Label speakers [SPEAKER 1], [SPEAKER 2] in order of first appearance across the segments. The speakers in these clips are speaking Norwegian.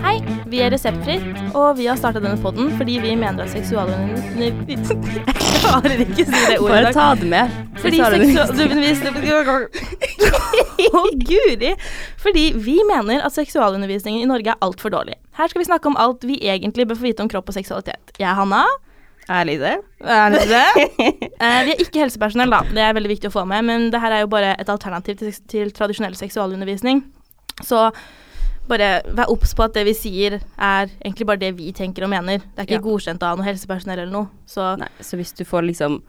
[SPEAKER 1] er reseptfritt, og vi har starta denne podden fordi vi mener at seksualundervisning Jeg klarer ikke å si det ordet i
[SPEAKER 2] Bare
[SPEAKER 1] dag.
[SPEAKER 2] ta det med.
[SPEAKER 1] Fordi seksualundervisning Å, guri! Fordi vi mener at seksualundervisningen i Norge er altfor dårlig. Her skal vi snakke om alt vi egentlig bør få vite om kropp og seksualitet. Jeg er Hanna.
[SPEAKER 2] Ærlig det.
[SPEAKER 1] Er det det? Eh, vi er ikke helsepersonell, da. Det er veldig viktig å få med. Men det her er jo bare et alternativ til, seks- til tradisjonell seksualundervisning. Så bare vær obs på at det vi sier, er egentlig bare det vi tenker og mener. Det er ikke
[SPEAKER 2] Ja.
[SPEAKER 1] godkjent av noe helsepersonell eller noe. Så
[SPEAKER 2] Nei, så hvis du får liksom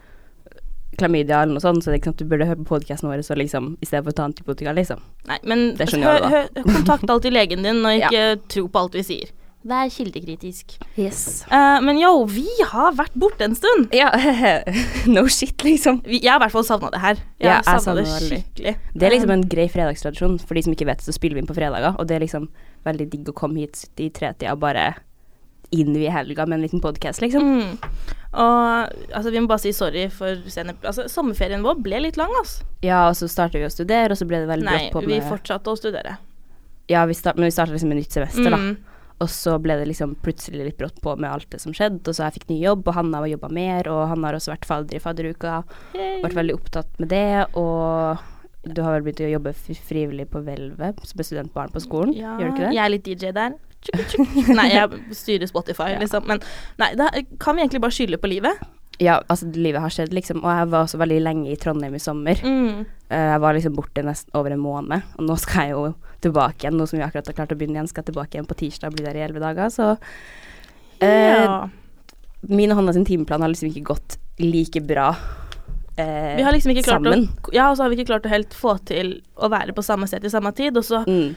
[SPEAKER 2] klamydia eller noe sånt, så det er ikke sant, du burde høre på podkasten vår så liksom, i stedet for å ta antibiotika, liksom.
[SPEAKER 1] nei, men
[SPEAKER 2] Det skjønner jeg
[SPEAKER 1] hør- hør- kontakt alltid legen din, og ikke tro på alt vi sier. Vær kildekritisk.
[SPEAKER 2] Yes.
[SPEAKER 1] Eh, men yo, vi har vært borte en stund.
[SPEAKER 2] Ja, no shit, liksom.
[SPEAKER 1] Vi, jeg har i hvert fall savna det her. Jeg
[SPEAKER 2] Ja,
[SPEAKER 1] har
[SPEAKER 2] jeg
[SPEAKER 1] savna det
[SPEAKER 2] savner det
[SPEAKER 1] skikkelig.
[SPEAKER 2] Det er liksom en grei fredagstradisjon. For de som ikke vet, så spiller vi inn på fredager, og det er liksom veldig digg å komme hit i tretida og bare inn i helga med en liten podkast, liksom.
[SPEAKER 1] Mm. Og altså, vi må bare si sorry for sene... Altså, sommerferien vår ble litt lang, altså.
[SPEAKER 2] Ja, og så starter vi å studere, og så ble det veldig
[SPEAKER 1] Nei,
[SPEAKER 2] brått på
[SPEAKER 1] vi
[SPEAKER 2] med
[SPEAKER 1] fortsatte å studere.
[SPEAKER 2] Ja, vi start, men vi starta liksom med nytt semester, da.
[SPEAKER 1] Mm.
[SPEAKER 2] Og så ble det liksom plutselig litt brått på med alt det som skjedde. Og så jeg fikk ny jobb, og Hanna har jobba mer, og han har også vært fadder i fadderuka. Vært veldig opptatt med det, og du har vel begynt å jobbe fri- frivillig på hvelvet som et studentbarn på skolen,
[SPEAKER 1] Ja,
[SPEAKER 2] gjør du ikke det?
[SPEAKER 1] Jeg er litt DJ der. Tjuk, tjuk. Nei, jeg styrer Spotify,
[SPEAKER 2] Ja.
[SPEAKER 1] liksom. Men nei, da kan vi egentlig bare skylde på livet.
[SPEAKER 2] Ja, altså livet har skjedd, liksom. Og jeg var også veldig lenge i Trondheim i sommer.
[SPEAKER 1] Mm.
[SPEAKER 2] Eh, Jeg var liksom borte nesten over en måned, og nå skal jeg jo tilbake igjen. Nå som vi akkurat har klart å begynne igjen, skal jeg tilbake igjen på tirsdag og bli der i elleve dager, så eh,
[SPEAKER 1] Ja.
[SPEAKER 2] Min og Hanna sin timeplan har liksom ikke gått like bra eh,
[SPEAKER 1] Vi har liksom ikke klart
[SPEAKER 2] sammen.
[SPEAKER 1] å Ja, og så har vi ikke klart å helt få til å være på samme sted til samme tid. Og så
[SPEAKER 2] Mm.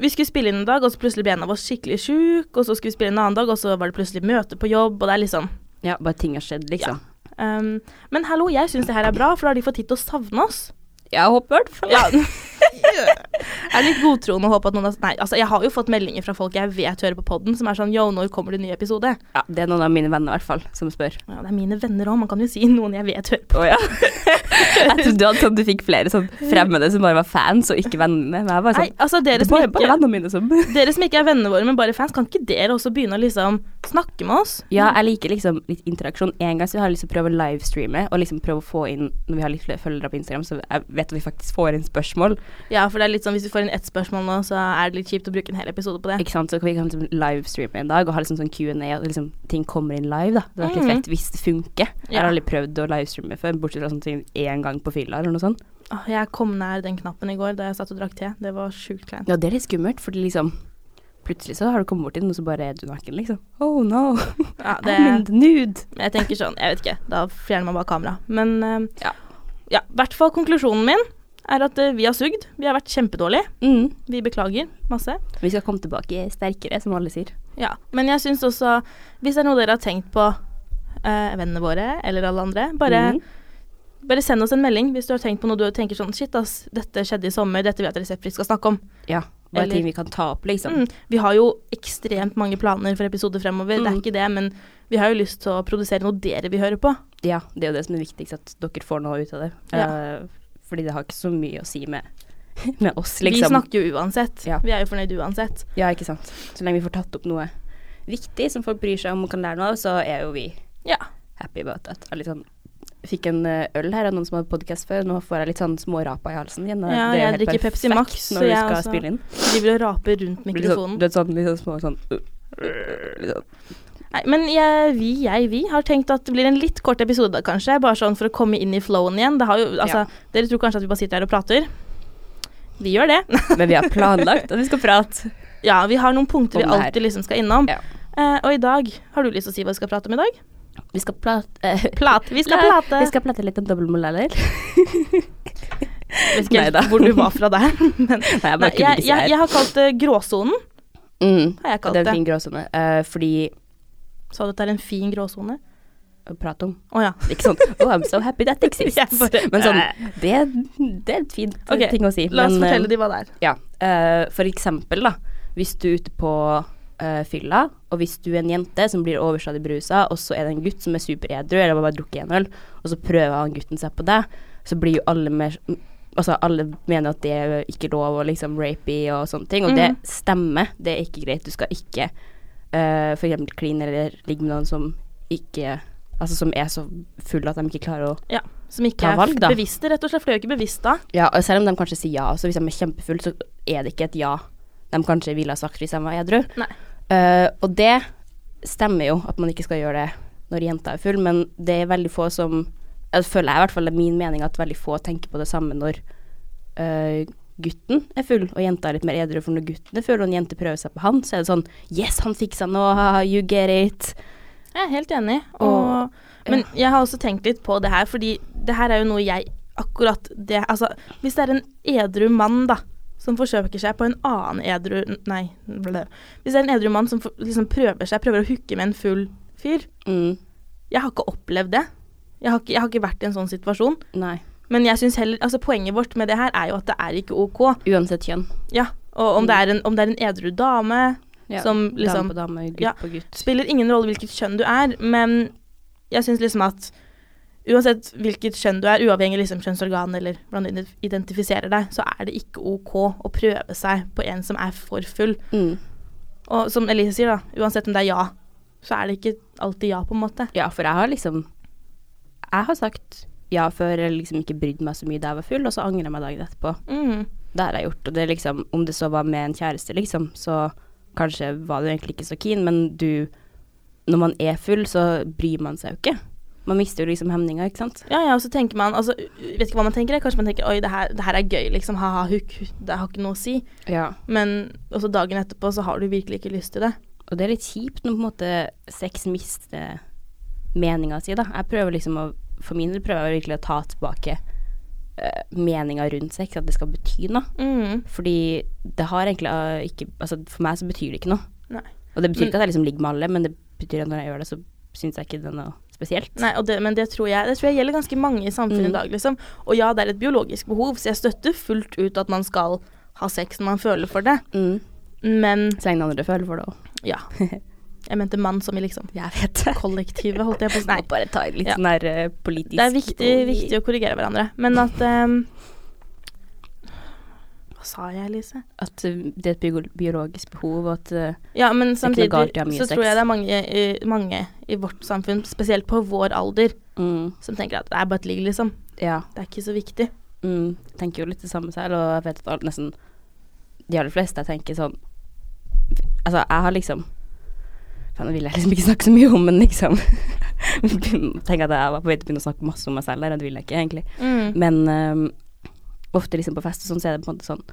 [SPEAKER 1] Vi skulle spille inn en dag, og så plutselig ble en av oss skikkelig sjuk. Og så skulle vi spille inn en annen dag, og så var det plutselig møte på jobb, og det er litt sånn
[SPEAKER 2] Ja, bare ting har skjedd, liksom.
[SPEAKER 1] Um, men hallo, jeg syns det her er bra, for da har de fått tid til å savne oss.
[SPEAKER 2] Jeg håper i hvert fall
[SPEAKER 1] Ja. jeg er litt godtroende og håper at noen har Nei, altså, jeg har jo fått meldinger fra folk jeg vet hører på poden, som er sånn Yo, når kommer det en ny episode?
[SPEAKER 2] Ja, det er noen av mine venner i hvert fall som spør.
[SPEAKER 1] Ja, det er mine venner òg, man kan jo si noen jeg vet hører på.
[SPEAKER 2] Å ja. jeg trodde du hadde sånn du fikk flere sånn fremmede som bare var fans og ikke vennene. Men jeg bare
[SPEAKER 1] Nei,
[SPEAKER 2] sånn,
[SPEAKER 1] altså,
[SPEAKER 2] det
[SPEAKER 1] dere
[SPEAKER 2] er
[SPEAKER 1] som,
[SPEAKER 2] bare, bare
[SPEAKER 1] ikke,
[SPEAKER 2] vennene mine som
[SPEAKER 1] dere som ikke er vennene våre, men bare fans, kan ikke dere også begynne å liksom snakke med oss?
[SPEAKER 2] Ja, jeg liker liksom litt interaksjon. En gang så har jeg lyst til å prøve å livestreame og liksom prøve å få inn Når vi har litt flere følgere på Instagram, så jeg vet at vi faktisk får inn spørsmål.
[SPEAKER 1] Ja, for det er litt sånn hvis vi får inn ett spørsmål nå, så er det litt kjipt å bruke en hel episode på det.
[SPEAKER 2] Ikke sant? Så vi kan liksom livestreame en dag og ha liksom sånn Q&A og liksom ting kommer inn live, da. Det hadde vært litt
[SPEAKER 1] Mhm.
[SPEAKER 2] fett hvis det funker. Jeg
[SPEAKER 1] Ja.
[SPEAKER 2] har aldri prøvd å livestreame før, bortsett fra sånn ting én gang på fylla eller noe sånt.
[SPEAKER 1] Åh, Jeg kom nær den knappen i går da jeg satt og drakk te. Det var sjukt kleint.
[SPEAKER 2] Ja, det er litt skummelt, fordi liksom Plutselig så har du kommet borti den, og så bare er du naken, liksom. Oh no,
[SPEAKER 1] Ja,
[SPEAKER 2] det... I'm in
[SPEAKER 1] det,
[SPEAKER 2] the nude.
[SPEAKER 1] jeg tenker sånn, jeg vet ikke, da fjerner man bare kamera. Men eh,
[SPEAKER 2] Ja.
[SPEAKER 1] ja, i hvert fall konklusjonen min er at eh, vi har sugd. Vi har vært kjempedårlige.
[SPEAKER 2] Mm.
[SPEAKER 1] Vi beklager masse.
[SPEAKER 2] Vi skal komme tilbake sterkere, som alle sier.
[SPEAKER 1] Ja, men jeg syns også, hvis det er noe dere har tenkt på, eh, vennene våre eller alle andre, bare,
[SPEAKER 2] Mhm.
[SPEAKER 1] bare send oss en melding hvis du har tenkt på noe du tenker sånn shit, ass, dette skjedde i sommer, dette vil jeg at Reseptfritt skal snakke om.
[SPEAKER 2] Ja, bare
[SPEAKER 1] Eller-
[SPEAKER 2] ting vi kan ta opp, liksom.
[SPEAKER 1] Mm. Vi har jo ekstremt mange planer for episoder fremover, det er
[SPEAKER 2] Mm.
[SPEAKER 1] ikke det, men vi har jo lyst til å produsere noe dere vil høre på.
[SPEAKER 2] Ja, det er jo det som er viktigst, at dere får noe ut av det. Eh, fordi det har ikke så mye å si med, med oss, liksom.
[SPEAKER 1] Vi snakker jo uansett.
[SPEAKER 2] Ja.
[SPEAKER 1] Vi er jo fornøyd uansett.
[SPEAKER 2] Ja, ikke sant. Så lenge vi får tatt opp noe viktig som folk bryr seg om og kan lære noe av, så er jo vi
[SPEAKER 1] Ja.
[SPEAKER 2] happy about that. Jeg er litt sånn, fikk en eh, øl her av noen som hadde podkast før, nå får jeg litt sånn smårapa i halsen igjen. og
[SPEAKER 1] Ja,
[SPEAKER 2] det er jo
[SPEAKER 1] jeg
[SPEAKER 2] helt
[SPEAKER 1] drikker Pepsi
[SPEAKER 2] perfekt
[SPEAKER 1] Max, så
[SPEAKER 2] når du
[SPEAKER 1] jeg
[SPEAKER 2] skal
[SPEAKER 1] også-
[SPEAKER 2] spille inn.
[SPEAKER 1] Driver og raper rundt
[SPEAKER 2] Blir det Sånn,
[SPEAKER 1] mikrofonen.
[SPEAKER 2] du vet sånn litt sånn små sånn uh, uh, litt sånn.
[SPEAKER 1] Nei, men jeg, vi, jeg, vi har tenkt at det blir en litt kort episode, kanskje. Bare sånn for å komme inn i flowen igjen. Det har jo, altså,
[SPEAKER 2] Ja.
[SPEAKER 1] Dere tror kanskje at vi bare sitter her og prater. Vi gjør det.
[SPEAKER 2] Men vi har planlagt at vi skal prate.
[SPEAKER 1] Ja, vi har noen punkter vi
[SPEAKER 2] Om det her.
[SPEAKER 1] alltid liksom skal innom.
[SPEAKER 2] Ja.
[SPEAKER 1] Eh, og i dag Har du lyst til å si hva vi skal prate om i dag?
[SPEAKER 2] Vi skal prate eh,
[SPEAKER 1] Plate. Vi skal
[SPEAKER 2] ja,
[SPEAKER 1] plate.
[SPEAKER 2] Vi skal prate litt om dobbeltmodeller.
[SPEAKER 1] Jeg vet ikke helt
[SPEAKER 2] Neida.
[SPEAKER 1] hvor du var fra der. Men,
[SPEAKER 2] Nei, jeg bare
[SPEAKER 1] nei,
[SPEAKER 2] kunne
[SPEAKER 1] jeg,
[SPEAKER 2] ikke si
[SPEAKER 1] jeg,
[SPEAKER 2] her.
[SPEAKER 1] jeg har kalt det gråsonen.
[SPEAKER 2] Mm.
[SPEAKER 1] Har jeg
[SPEAKER 2] Det
[SPEAKER 1] kalt
[SPEAKER 2] er en
[SPEAKER 1] det.
[SPEAKER 2] fin gråsone. eh, fordi
[SPEAKER 1] Sa du at det er en fin gråsone?
[SPEAKER 2] Prat om.
[SPEAKER 1] Å ja.
[SPEAKER 2] Ikke sånn Oh, I'm so happy that exists.
[SPEAKER 1] Jeg bare- eh.
[SPEAKER 2] Men sånn Det, er- det er et fint
[SPEAKER 1] Ok,
[SPEAKER 2] ting å si.
[SPEAKER 1] La oss
[SPEAKER 2] men, eh,
[SPEAKER 1] fortelle de hva det er.
[SPEAKER 2] Ja. eh, for eksempel, da. Hvis du er ute på eh, fylla, og hvis du er en jente som blir overstadig berusa, og så er det en gutt som er superedru, eller bare drukker en øl, og så prøver han gutten seg på deg, så blir jo alle mer Altså, alle mener at det er ikke lov, og liksom rapey og sånne ting, og
[SPEAKER 1] Mhm.
[SPEAKER 2] det stemmer. Det er ikke greit. Du skal ikke eh, for f.eks. klin eller ligge med noen som ikke Altså som er så full at de ikke klarer å
[SPEAKER 1] Som ikke
[SPEAKER 2] Ta
[SPEAKER 1] er
[SPEAKER 2] valg, da.
[SPEAKER 1] bevisste, rett og slett. For de er jo ikke bevisst da.
[SPEAKER 2] Ja, og selv om de kanskje sier ja også, hvis de er kjempefulle, så er det ikke et ja de kanskje ville ha sagt hvis de var edru.
[SPEAKER 1] Nei.
[SPEAKER 2] Eh, og det stemmer jo at man ikke skal gjøre det når jenta er full, men det er veldig få som Jeg føler jeg i hvert fall det er min mening at veldig få tenker på det samme når eh, gutten er full og jenta er litt mer edru, for når gutten er full og en jente prøver seg på han, så er det sånn Yes, han fiksa noe, haha, you get it.
[SPEAKER 1] Jeg er helt enig. Og,
[SPEAKER 2] Og-
[SPEAKER 1] men jeg har også tenkt litt på det her, fordi det her er jo noe jeg akkurat det, altså, Hvis det er en edru mann, da, som forsøker seg på en annen edru Nei, ble det. Hvis det er en edru mann som for- liksom prøver seg, prøver å hooke med en full fyr
[SPEAKER 2] Mm,
[SPEAKER 1] Jeg har ikke opplevd det. Jeg har ikke, jeg har ikke vært i en sånn situasjon.
[SPEAKER 2] nei.
[SPEAKER 1] Men jeg synes heller, altså poenget vårt med det her er jo at det er ikke OK.
[SPEAKER 2] Uansett kjønn.
[SPEAKER 1] Ja, og om det er en, om det er en edru dame
[SPEAKER 2] Ja,
[SPEAKER 1] som
[SPEAKER 2] dame
[SPEAKER 1] liksom
[SPEAKER 2] på dame, gutt
[SPEAKER 1] ja.
[SPEAKER 2] på gutt.
[SPEAKER 1] spiller ingen rolle hvilket kjønn du er, men jeg syns liksom at uansett hvilket kjønn du er, uavhengig liksom kjønnsorgan eller hvordan du ident- identifiserer deg, så er det ikke OK å prøve seg på en som er for full.
[SPEAKER 2] Mm.
[SPEAKER 1] Og som Elise sier, da, uansett om det er ja, så er det ikke alltid ja, på en måte.
[SPEAKER 2] Ja, for jeg har liksom Jeg har sagt ja før, eller liksom ikke brydd meg så mye da jeg var full, og så angrer jeg meg dagen etterpå.
[SPEAKER 1] Mm.
[SPEAKER 2] Det har jeg gjort, og det er liksom Om det så var med en kjæreste, liksom, så kanskje var du egentlig ikke så keen, men du Når man er full, så bryr man seg jo ikke. Man mister jo liksom hemninga, ikke sant?
[SPEAKER 1] Ja, ja, og så tenker man altså, Vet ikke hva man tenker. Kanskje man tenker oi, det her, det her er gøy, liksom. Ha-ha, huk. Det har ikke noe å si.
[SPEAKER 2] Ja.
[SPEAKER 1] Men også dagen etterpå så har du virkelig ikke lyst til det.
[SPEAKER 2] Og det er litt kjipt når på en måte sex mister meninga si, da. Jeg prøver liksom å For min del prøver jeg virkelig å ta tilbake uh, meninga rundt sex, at det skal bety noe.
[SPEAKER 1] Mm.
[SPEAKER 2] Fordi det har egentlig eh, ikke Altså for meg så betyr det ikke noe.
[SPEAKER 1] Nei.
[SPEAKER 2] Og det betyr
[SPEAKER 1] Men-
[SPEAKER 2] ikke at jeg liksom ligger med alle, men det betyr at når jeg gjør det, så syns jeg ikke det er noe spesielt.
[SPEAKER 1] Nei, og det, men det tror, jeg, det tror jeg gjelder ganske mange i samfunnet i
[SPEAKER 2] Mm.
[SPEAKER 1] dag, liksom. Og ja, det er et biologisk behov, så jeg støtter fullt ut at man skal ha sex når man føler for det.
[SPEAKER 2] Mm.
[SPEAKER 1] Men
[SPEAKER 2] Så lenge andre føler for det òg.
[SPEAKER 1] ja. Jeg mente mann som i liksom
[SPEAKER 2] Jeg vet det.
[SPEAKER 1] kollektivet, holdt jeg på å si.
[SPEAKER 2] Nei.
[SPEAKER 1] Nei.
[SPEAKER 2] Bare ta litt
[SPEAKER 1] Ja.
[SPEAKER 2] sånn der eh, politisk
[SPEAKER 1] Det er viktig, viktig å korrigere hverandre. Men at ehm, Hva sa jeg, Elise?
[SPEAKER 2] At eh, det er et bio- biologisk behov, og at eh,
[SPEAKER 1] Ja, men
[SPEAKER 2] er ikke noe
[SPEAKER 1] samtidig
[SPEAKER 2] galt i å ha mye
[SPEAKER 1] så
[SPEAKER 2] sex.
[SPEAKER 1] tror jeg det er mange, i- mange i vårt samfunn, spesielt på vår alder,
[SPEAKER 2] mm,
[SPEAKER 1] som tenker at det er bare et ligg, liksom.
[SPEAKER 2] Ja.
[SPEAKER 1] Det er ikke så viktig.
[SPEAKER 2] Mm, tenker jo litt det samme selv, og jeg vet at alt, nesten de aller fleste jeg tenker sånn Altså, jeg har liksom Faen, nå vil jeg liksom ikke snakke så mye om, men liksom Tenk at jeg var på vei til å begynne å snakke masse om meg selv der, og det vil jeg ikke egentlig. Men øhm, ofte liksom på fest og sånn, så er det på en måte sånn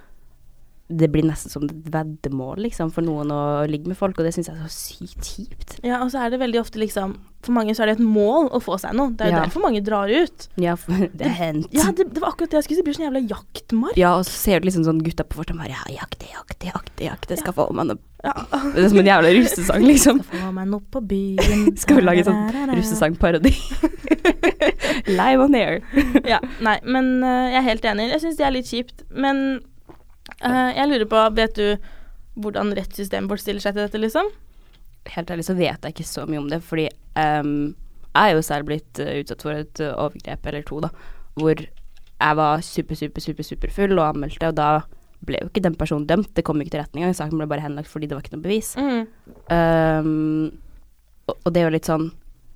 [SPEAKER 2] Det blir nesten som et veddemål, liksom, for noen å ligge med folk, og det syns jeg er så sykt kjipt.
[SPEAKER 1] Ja, og så er det veldig ofte liksom For mange så er det et mål å få seg noe. Det er jo
[SPEAKER 2] Ja.
[SPEAKER 1] derfor mange drar ut.
[SPEAKER 2] Ja, for det er hendt.
[SPEAKER 1] Ja, det, det var akkurat det jeg skulle si. Det blir sånn jævla jaktmark.
[SPEAKER 2] Ja, og så ser du liksom sånn gutta på fortet bare Ja, jakte, jakte, jakte, jakte, skal få meg noe
[SPEAKER 1] Ja.
[SPEAKER 2] Det er som en jævla russesang, liksom.
[SPEAKER 1] Skal få meg noe på byen.
[SPEAKER 2] Skal vi lage en sånn russesangparodi? Live on air.
[SPEAKER 1] Ja, nei, men øh, jeg er helt enig. Jeg syns det er litt kjipt. Men øh, jeg lurer på, vet du hvordan rettssystemet vårt stiller seg til dette, liksom?
[SPEAKER 2] Helt ærlig så vet jeg ikke så mye om det, fordi ehm, jeg er jo selv blitt eh, utsatt for et eh, overgrep eller to, da, hvor jeg var super, super, super, super full og anmeldte, og da ble jo ikke den personen dømt. Det kom jo ikke til retten engang. Saken ble bare henlagt fordi det var ikke noe bevis. Ehm, og, og det er jo litt sånn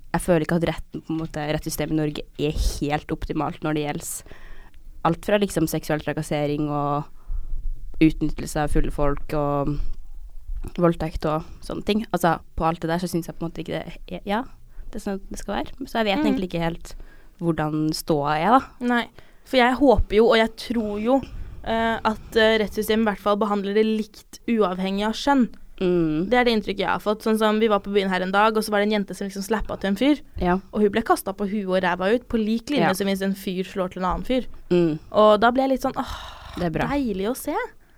[SPEAKER 2] Jeg føler ikke at retten på en måte, rettssystemet i Norge er helt optimalt når det gjelder alt fra liksom seksuell trakassering og utnyttelse av fulle folk og voldtekt og sånne ting. Altså på alt det der så syns jeg på en måte ikke det er Ja, det er sånn det skal være. Så jeg vet
[SPEAKER 1] Mhm.
[SPEAKER 2] egentlig ikke helt hvordan ståa er, da.
[SPEAKER 1] Nei. For jeg håper jo, og jeg tror jo, øh, at øh, rettssystemet i hvert fall behandler det likt uavhengig av skjønn.
[SPEAKER 2] Mm,
[SPEAKER 1] Det er det inntrykket jeg har fått. Sånn som Vi var på byen her en dag, og så var det en jente som liksom slappa til en fyr.
[SPEAKER 2] ja.
[SPEAKER 1] Og hun ble kasta på huet og ræva ut, på lik linje
[SPEAKER 2] Ja.
[SPEAKER 1] som hvis en fyr slår til en annen fyr.
[SPEAKER 2] Mm,
[SPEAKER 1] Og da ble jeg litt sånn åh,
[SPEAKER 2] det er bra.
[SPEAKER 1] deilig å se.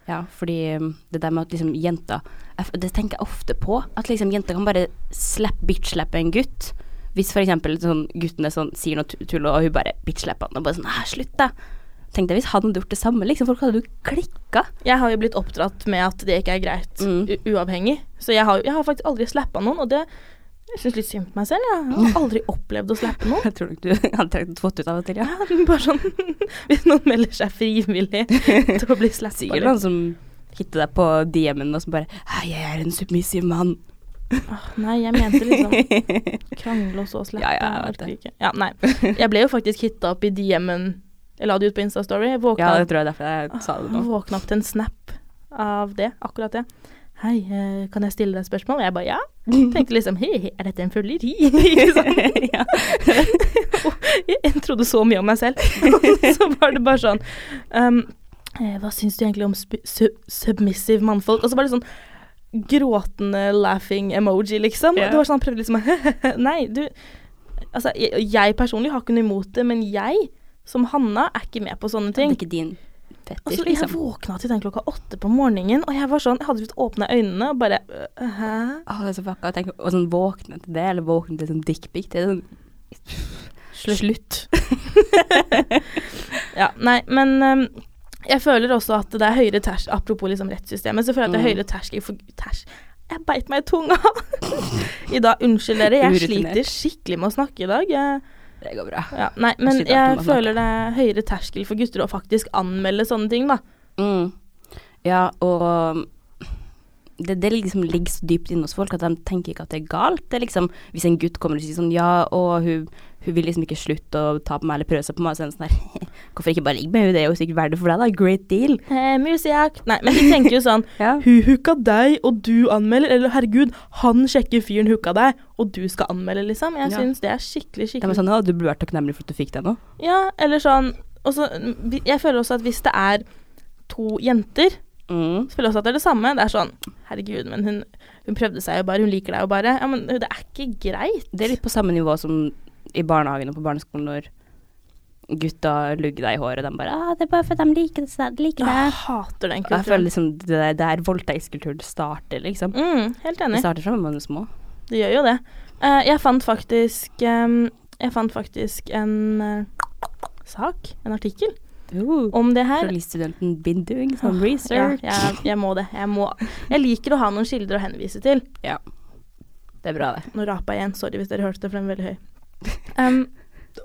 [SPEAKER 2] Ja, fordi um, det der med at liksom jenter jeg f- Det tenker jeg ofte på. At liksom jenter kan bare slap, bitch-slappe en gutt. Hvis for eksempel sånn, gutten er sånn, sier noe tu- tull, og hun bare bitch-slapper han og bare sånn Æh, slutt, da. Tenk deg hvis han hadde gjort det samme, liksom. Folk hadde jo klikka.
[SPEAKER 1] Jeg har jo blitt oppdratt med at det ikke er greit
[SPEAKER 2] Mm.
[SPEAKER 1] u- uavhengig. Så jeg har, jeg har faktisk aldri slappa noen, og det jeg syns litt synd på meg selv. Jeg har aldri opplevd å slappe noen.
[SPEAKER 2] Jeg tror nok du hadde trengt å fått ut av og til, ja.
[SPEAKER 1] Ja, bare sånn Hvis noen melder seg frivillig til å bli slappa.
[SPEAKER 2] Sikkert noen som hitter deg på DM-en og som bare Hei, jeg er en submissiv mann.
[SPEAKER 1] Åh, nei, jeg mente liksom krangle og så slette.
[SPEAKER 2] Ja, ja, jeg vet
[SPEAKER 1] orker ikke. Ja, nei. Jeg ble jo faktisk hitta opp i DM-en jeg la det ut på Insta-story. Jeg
[SPEAKER 2] Ja,
[SPEAKER 1] Våkna,
[SPEAKER 2] det tror jeg derfor jeg sa det nå.
[SPEAKER 1] våkna opp til en snap av det, akkurat det. Hei, eh, kan jeg stille deg et spørsmål? Og jeg bare ja. Tenkte liksom hei, hei, er dette en føleri? Ikke sant?
[SPEAKER 2] ja.
[SPEAKER 1] jeg trodde så mye om meg selv. så var det bare sånn ehm, eh, Hva syns du egentlig om sp- su submissive mannfolk? Og så var det sånn gråtende laughing emoji, liksom.
[SPEAKER 2] Ja.
[SPEAKER 1] Det var sånn han prøvde liksom å Nei, du Altså, jeg, jeg personlig har ikke noe imot det, men jeg, som Hanna, er ikke med på sånne
[SPEAKER 2] Det er
[SPEAKER 1] ting.
[SPEAKER 2] ikke din fetisj,
[SPEAKER 1] Altså, jeg
[SPEAKER 2] liksom.
[SPEAKER 1] våkna til den klokka åtte på morgenen, og jeg var sånn Jeg hadde just åpna øynene og bare øh, Hæ?
[SPEAKER 2] Å, Ah, det er så fucka å tenke Og sånn våkne til det, eller våkne til sånn dickpic. Det er sånn
[SPEAKER 1] Slutt. ja, nei, men øhm, jeg føler også at det er høyere terskel Apropos liksom rettssystemet, så føler jeg at det er
[SPEAKER 2] Mm.
[SPEAKER 1] høyere terskel for ters, Jeg beit meg i tunga i dag. Unnskyld dere, jeg
[SPEAKER 2] Urutinert.
[SPEAKER 1] sliter skikkelig med å snakke i dag. Jeg,
[SPEAKER 2] Det går bra.
[SPEAKER 1] ja, nei, men
[SPEAKER 2] Jeg sliter alltid med
[SPEAKER 1] jeg
[SPEAKER 2] å snakke.
[SPEAKER 1] føler det er høyere terskel for gutter å faktisk anmelde sånne ting, da.
[SPEAKER 2] Mm. Ja, og um, det, det liksom ligger så dypt inne hos folk at de tenker ikke at det er galt. Det er liksom, hvis en gutt kommer og sier sånn ja, og hun, hun vil liksom ikke slutte å ta på meg eller prøve seg på meg, så er det sånn her Hvorfor ikke bare ligge med henne, det er jo sikkert verdt det for deg, da. Great deal.
[SPEAKER 1] Eh, Musiak. Nei, men de tenker jo sånn
[SPEAKER 2] Ja.
[SPEAKER 1] Hun hooka deg, og du anmelder. Eller herregud, han sjekker fyren hooka deg, og du skal anmelde, liksom. Jeg
[SPEAKER 2] Ja.
[SPEAKER 1] syns det er skikkelig,
[SPEAKER 2] De er
[SPEAKER 1] skikkelig
[SPEAKER 2] sånn å, du burde vært takknemlig for at du fikk det nå.
[SPEAKER 1] Ja, eller sånn og så, vi- Jeg føler også at hvis det er to jenter,
[SPEAKER 2] Mm.
[SPEAKER 1] så føler jeg også at det er det samme. Det er sånn Herregud, men hun, hun prøvde seg jo bare, hun liker deg jo bare. Ja, men det er ikke greit.
[SPEAKER 2] Det er litt på samme nivå som i barnehagen og på barneskolen når gutta lugger deg i håret, og de bare ah, 'Det er bare fordi de liker det.' De liker det.
[SPEAKER 1] Jeg hater den
[SPEAKER 2] Og jeg føler
[SPEAKER 1] kulturen.
[SPEAKER 2] liksom det er der voldtektskulturen starter, liksom.
[SPEAKER 1] Mm, helt
[SPEAKER 2] Det
[SPEAKER 1] enig.
[SPEAKER 2] starter fra man er små.
[SPEAKER 1] Det gjør jo det. Eh, jeg fant faktisk eh, Jeg fant faktisk en eh, sak, en artikkel,
[SPEAKER 2] Uh,
[SPEAKER 1] om det her.
[SPEAKER 2] Journaliststudenten been doing some
[SPEAKER 1] Åh,
[SPEAKER 2] Sånn research.
[SPEAKER 1] Ja, jeg, jeg må det. Jeg, må. jeg liker å ha noen kilder å henvise til.
[SPEAKER 2] Det er bra, det.
[SPEAKER 1] Nå rapa jeg igjen. Sorry hvis dere hørte det, for den er veldig høy. Um,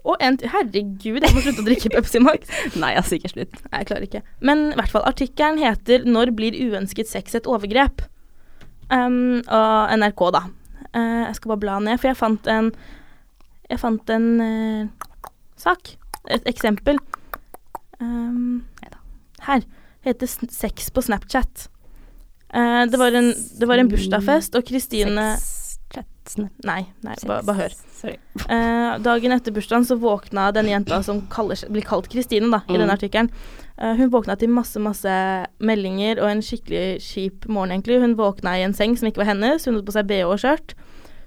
[SPEAKER 1] og en til. Herregud, jeg må slutte å drikke Pepsi Max.
[SPEAKER 2] Nei, altså, ikke slutt.
[SPEAKER 1] Nei, jeg klarer ikke. Men i hvert fall, artikkelen heter 'Når blir uønsket sex et overgrep?' Um, og NRK, da. Eh, jeg skal bare bla ned, for jeg fant en Jeg fant en eh, sak. Et eksempel. Um,
[SPEAKER 2] Neida.
[SPEAKER 1] her. Heter sn- 'Sex på Snapchat'. Eh, det, var en, det var en bursdagsfest, og Kristine
[SPEAKER 2] Sex, chat, snap,
[SPEAKER 1] Nei, nei
[SPEAKER 2] sex.
[SPEAKER 1] bare ba hør.
[SPEAKER 2] Sorry.
[SPEAKER 1] Eh, dagen etter bursdagen så våkna den jenta som kaller, seg- blir kalt Kristine, da, i
[SPEAKER 2] Mm.
[SPEAKER 1] denne artikkelen. Eh, hun våkna til masse, masse meldinger og en skikkelig kjip morgen, egentlig. Hun våkna i en seng som ikke var hennes. Hun hadde på seg BH og skjørt.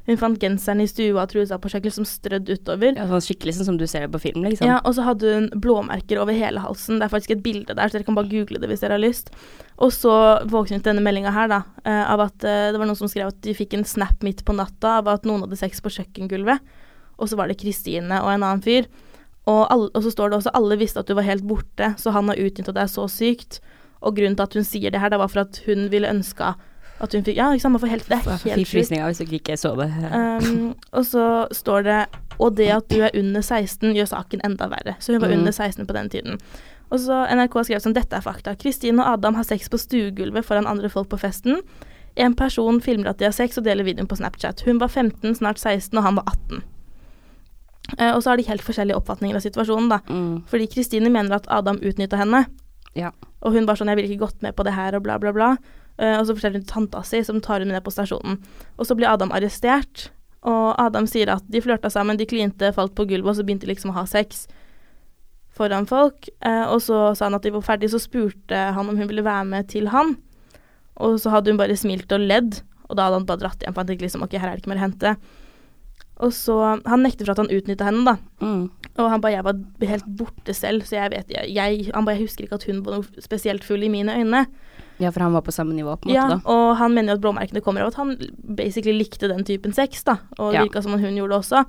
[SPEAKER 1] Hun fant genseren i stua og trusa på seg, liksom strødd utover.
[SPEAKER 2] Ja, sånn skikkelig sånn som du ser det på film, liksom.
[SPEAKER 1] Ja, og så hadde hun blåmerker over hele halsen. Det er faktisk et bilde der, så dere kan bare google det hvis dere har lyst. Og så våknet hun til denne meldinga her, da, eh, av at eh, det var noen som skrev at de fikk en snap midt på natta av at noen hadde sex på kjøkkengulvet. Og så var det Kristine og en annen fyr. Og, alle, og så står det også alle visste at du var helt borte, så han har utnytta deg så sykt. Og grunnen til at hun sier det her, det var for at hun ville ønska at hun fikk Ja, ikke sant, man får helt Det er
[SPEAKER 2] Fikk
[SPEAKER 1] helt sjukt.
[SPEAKER 2] frysninger hvis dere ikke så det.
[SPEAKER 1] Um, og så står det Og det at du er under 16 gjør saken enda verre. Så hun var
[SPEAKER 2] Mm.
[SPEAKER 1] under 16 på den tiden. Og så NRK skrev sånn Dette er fakta. Kristine og Adam har sex på stuegulvet foran andre folk på festen. En person filmer at de har sex og deler videoen på Snapchat. Hun var 15, snart 16, og han var 18. Eh, og så har de helt forskjellige oppfatninger av situasjonen, da.
[SPEAKER 2] Mm.
[SPEAKER 1] Fordi Kristine mener at Adam utnytta henne.
[SPEAKER 2] Ja.
[SPEAKER 1] Og hun bare sånn 'Jeg ville ikke gått med på det her', og bla, bla, bla. Eh, og så forteller hun til tanta si, som tar henne ned på stasjonen. Og så blir Adam arrestert, og Adam sier at de flørta sammen, de klinte, falt på gulvet, og så begynte de liksom å ha sex foran folk. Eh, og så sa han at de var ferdige, så spurte han om hun ville være med til han. Og så hadde hun bare smilt og ledd, og da hadde han bare dratt igjen, for han tenkte liksom 'Ok, her er det ikke mer å hente'. Og så Han nekter for at han utnytta henne, da.
[SPEAKER 2] Mm.
[SPEAKER 1] Og han bare, jeg var helt borte selv, så jeg vet, jeg, jeg, han bare, jeg husker ikke at hun var noe spesielt full i mine øyne.
[SPEAKER 2] Ja, for han var på samme nivå, på en
[SPEAKER 1] Ja,
[SPEAKER 2] måte, da.
[SPEAKER 1] og han mener jo at blåmerkene kommer av at han basically likte den typen sex, da. Og det
[SPEAKER 2] Ja.
[SPEAKER 1] virka som om hun gjorde det også.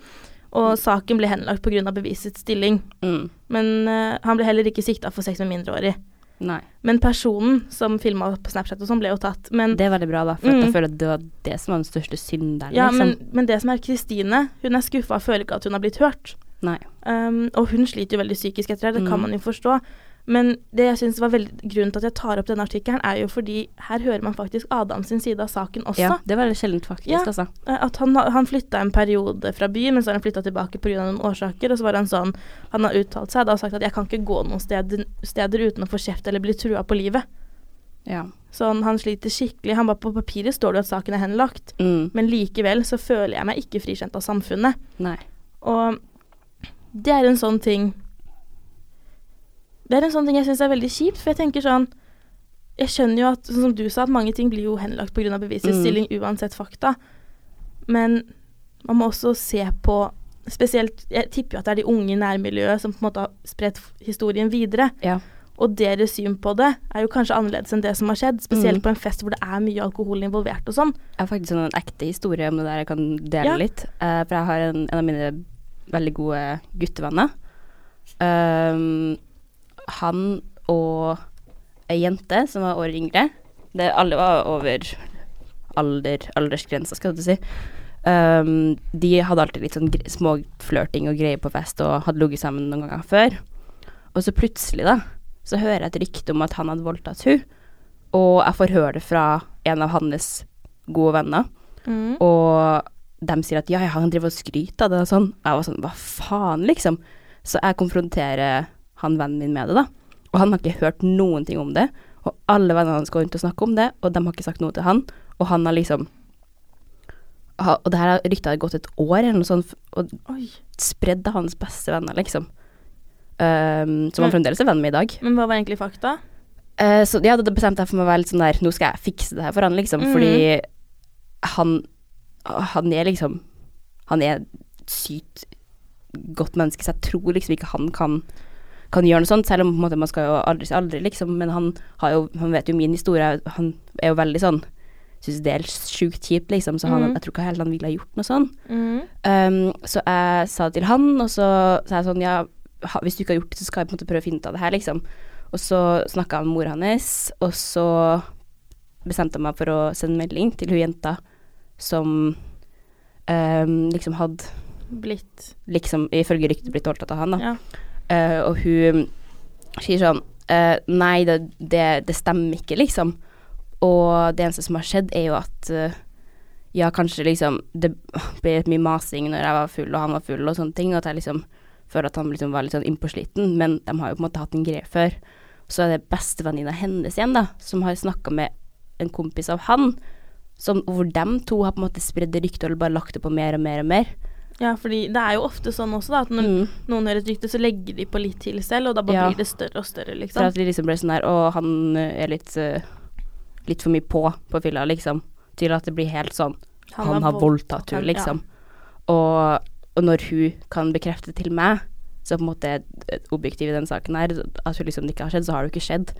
[SPEAKER 1] Og saken ble henlagt pga. bevisets stilling.
[SPEAKER 2] Mm.
[SPEAKER 1] Men eh, han ble heller ikke sikta for sex med mindreårig.
[SPEAKER 2] Nei.
[SPEAKER 1] Men personen som filma på Snapchat og sånn, ble jo tatt. Men,
[SPEAKER 2] Det er veldig bra, da, for at
[SPEAKER 1] Mm.
[SPEAKER 2] jeg føler at det var det som var den største synderen,
[SPEAKER 1] ja,
[SPEAKER 2] liksom.
[SPEAKER 1] men, men det som er Kristine, hun er skuffa Ehm, og føler ikke at hun har blitt hørt.
[SPEAKER 2] Nei.
[SPEAKER 1] Um, og hun sliter jo veldig psykisk etter det, det kan
[SPEAKER 2] Mm.
[SPEAKER 1] man jo forstå. Men det jeg synes var veldig, grunnen til at jeg tar opp denne artikkelen, er jo fordi her hører man faktisk Adam sin side av saken også.
[SPEAKER 2] Ja, det var veldig sjeldent, faktisk.
[SPEAKER 1] Ja.
[SPEAKER 2] altså.
[SPEAKER 1] Eh, At han, han flytta en periode fra byen, men så har han flytta tilbake pga. noen årsaker. Og så var han sånn Han har uttalt seg da, og sagt at 'jeg kan ikke gå noen steder, steder uten å få kjeft eller bli trua på livet'.
[SPEAKER 2] Ja.
[SPEAKER 1] Sånn, han sliter skikkelig. Han bare 'på papiret står det jo at saken er henlagt',
[SPEAKER 2] Mm.
[SPEAKER 1] men likevel så føler jeg meg ikke frikjent av samfunnet.
[SPEAKER 2] Nei.
[SPEAKER 1] Og det er en sånn ting Det er en sånn ting jeg syns er veldig kjipt, for jeg tenker sånn Jeg skjønner jo at, sånn som du sa, at mange ting blir jo henlagt pga. bevisstilling uansett fakta. Men man må også se på Spesielt, Jeg tipper jo at det er de unge i nærmiljøet som på en måte har spredt f- historien videre.
[SPEAKER 2] Ja.
[SPEAKER 1] Og deres syn på det er jo kanskje annerledes enn det som har skjedd. Spesielt
[SPEAKER 2] Mm.
[SPEAKER 1] på en fest hvor det er mye alkohol involvert og sånn.
[SPEAKER 2] Jeg har faktisk en ekte historie om det der jeg kan dele
[SPEAKER 1] Ja.
[SPEAKER 2] litt. Eh, for jeg har en, en av mine veldig gode guttevenner. Um, han og ei jente som var året yngre. Det, alle var over alder, aldersgrensa, skal du si. Um, de hadde alltid litt sånn gre- småflørting og greier på fest og hadde ligget sammen noen ganger før. Og så plutselig, da, så hører jeg et rykte om at han hadde voldtatt hun og jeg får høre det fra en av hans gode venner. Mm. Og de sier at ja, ja, han driver og skryter av det og sånn. Jeg var sånn, hva faen, liksom. Så jeg konfronterer han vennen min med det, da. Og han har ikke hørt noen ting om det. Og alle vennene hans går rundt og snakker om det, og de har ikke sagt noe til han. Og han har liksom ha- Og det her har- ryktet har gått et år eller noe sånt, og
[SPEAKER 1] Oi.
[SPEAKER 2] spredd av hans beste venner, liksom. Um, som han
[SPEAKER 1] Men-
[SPEAKER 2] fremdeles er venn med i dag.
[SPEAKER 1] Men hva var egentlig fakta?
[SPEAKER 2] Eh, så ja, da da bestemte jeg for meg å være litt sånn der Nå skal jeg fikse det her for han, liksom.
[SPEAKER 1] Mhm.
[SPEAKER 2] Fordi han Han er liksom Han er et sykt godt menneske, så jeg tror liksom ikke han kan kan gjøre noe sånt, selv om på en måte, man skal jo aldri si aldri, liksom. Men han, har jo, han vet jo min historie. Han er jo veldig sånn Syns det er sjukt kjipt, liksom. Så han,
[SPEAKER 1] Mhm.
[SPEAKER 2] jeg tror ikke helt han ville ha gjort noe sånn. Um, så jeg sa det til han, og så sa jeg sånn, ja, ha, hvis du ikke har gjort det, så skal jeg på en måte prøve å finne ut av det her, liksom. Og så snakka jeg med mora hans, og så bestemte jeg meg for å sende melding til hun jenta som um, liksom hadde,
[SPEAKER 1] Blitt.
[SPEAKER 2] liksom, ifølge ryktet, blitt voldtatt av han, da.
[SPEAKER 1] Ja.
[SPEAKER 2] Eh, og hun sier sånn eh, Nei, det, det, det stemmer ikke, liksom. Og det eneste som har skjedd, er jo at eh, Ja, kanskje liksom Det ble litt mye masing når jeg var full, og han var full, og sånne ting. Og at jeg liksom føler at han liksom var litt sånn innpåsliten, men de har jo på en måte hatt en greie før. Så er det bestevenninna hennes igjen, da, som har snakka med en kompis av han. Som, hvor dem to har på en måte spredd det ryktet og bare lagt det på mer og mer og mer.
[SPEAKER 1] Ja, fordi det er jo ofte sånn også, da, at når
[SPEAKER 2] Mm.
[SPEAKER 1] noen hører et rykte, så legger de på litt til selv, og da bare
[SPEAKER 2] Ja.
[SPEAKER 1] blir det større og større,
[SPEAKER 2] For
[SPEAKER 1] liksom.
[SPEAKER 2] at de liksom ble sånn der Å, han ø, er litt ø, Litt for mye på på fylla, liksom. Til at det blir helt sånn Han,
[SPEAKER 1] var
[SPEAKER 2] har
[SPEAKER 1] vold-
[SPEAKER 2] voldtatt
[SPEAKER 1] han-
[SPEAKER 2] henne,
[SPEAKER 1] ja.
[SPEAKER 2] liksom. Og, og når hun kan bekrefte til meg, så på en måte er et objektiv i den saken her, at hun liksom det ikke har skjedd, så har det jo ikke skjedd.